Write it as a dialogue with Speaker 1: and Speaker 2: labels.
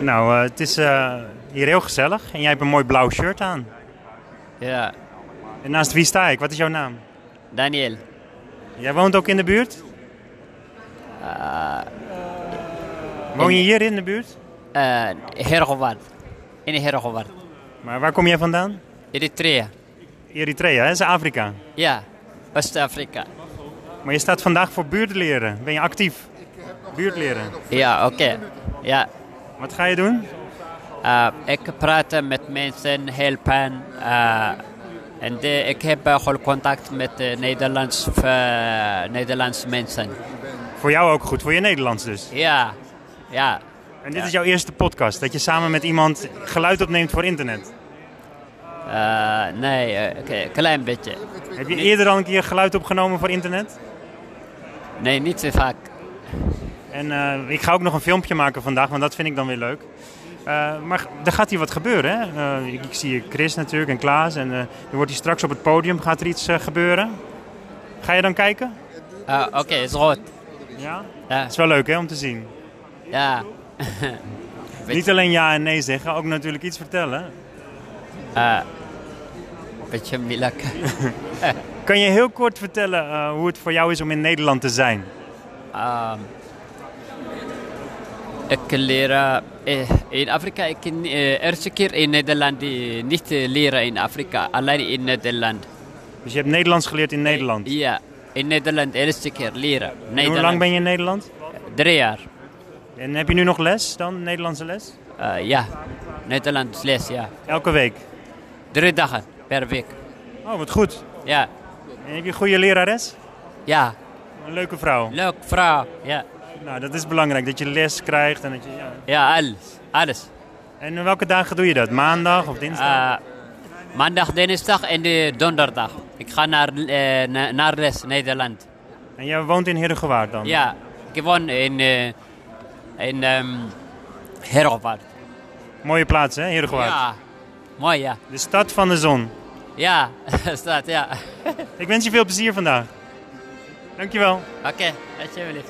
Speaker 1: Nou, eh, het is eh, hier heel gezellig. En jij hebt een mooi blauw shirt aan.
Speaker 2: Ja,
Speaker 1: En naast wie sta ik? Wat is jouw naam?
Speaker 2: Daniel.
Speaker 1: Jij woont ook in de buurt? Woon je hier in de buurt?
Speaker 2: eh Hergoward. In Hergoward.
Speaker 1: Maar waar kom jij vandaan?
Speaker 2: Eritrea.
Speaker 1: Eritrea, hè? Dat is Afrika.
Speaker 2: Ja, West-Afrika.
Speaker 1: Maar je staat vandaag voor buurtleren. Ben je actief? Buurtleren.
Speaker 2: Ja, oké. Ja,
Speaker 1: Wat ga je doen?
Speaker 2: eh, ik praat met mensen, helpen. eh, en de- ik heb eh, gewoon contact met eh, Nederlands, eh, Nederlandse mensen.
Speaker 1: Voor jou ook goed, voor je Nederlands dus.
Speaker 2: Ja, ja.
Speaker 1: En dit is jouw eerste podcast, dat je samen met iemand geluid opneemt voor internet.
Speaker 2: Eh, nee, eh, oké, klein beetje.
Speaker 1: Heb je eerder al een keer geluid opgenomen voor internet?
Speaker 2: Nee, niet zo vaak.
Speaker 1: En eh, ik ga ook nog een filmpje maken vandaag, want dat vind ik dan weer leuk. Eh, maar g- er gaat hier wat gebeuren, hè? Eh, ik, ik zie Chris natuurlijk en Klaas. En eh, er wordt hier straks op het podium gaat er iets eh, gebeuren. Ga je dan kijken?
Speaker 2: Eh, oké, is goed.
Speaker 1: Ja.
Speaker 2: Ja,
Speaker 1: Dat is wel leuk, hè, om te zien.
Speaker 2: ja.
Speaker 1: Niet alleen ja en nee zeggen, ook natuurlijk iets vertellen.
Speaker 2: beetje moeilijk.
Speaker 1: Kan je heel kort vertellen eh, hoe het voor jou is om in Nederland te zijn?
Speaker 2: Ehm, ik leren eh, in Afrika. Ik ken eh, eerste keer in Nederland eh, niet eh, leren in Afrika, alleen in Nederland.
Speaker 1: Dus je hebt Nederlands geleerd in Nederland.
Speaker 2: Ja, in Nederland eerste keer leren.
Speaker 1: En hoe
Speaker 2: Nederland.
Speaker 1: lang ben je in Nederland?
Speaker 2: Drie jaar.
Speaker 1: En heb je nu nog les dan, Nederlandse les?
Speaker 2: Eh, ja, Nederlands les, ja.
Speaker 1: Elke week.
Speaker 2: Drie dagen per week.
Speaker 1: Oh, wat goed.
Speaker 2: Ja,
Speaker 1: En heb je een goede lerares?
Speaker 2: ja.
Speaker 1: Een leuke vrouw.
Speaker 2: Leuk vrouw. Ja,
Speaker 1: Nou, dat is belangrijk, dat je les krijgt. En, dat je, ja.
Speaker 2: ja alles. Alles.
Speaker 1: en welke dagen doe je dat? Maandag of dinsdag?
Speaker 2: Eh, maandag, dinsdag en eh, donderdag. Ik ga naar, eh, na- naar les Nederland.
Speaker 1: En jij woont in Heerdegewaard dan?
Speaker 2: Ja, ik woon in, eh in ehm Heerhugowaard.
Speaker 1: Mooie plaats, hè, Heerdegewaard?
Speaker 2: Ja, mooi ja.
Speaker 1: De stad van de zon.
Speaker 2: Ja, staat ja.
Speaker 1: Ik wens je veel plezier vandaag. Dankjewel.
Speaker 2: Oké, alsjeblieft.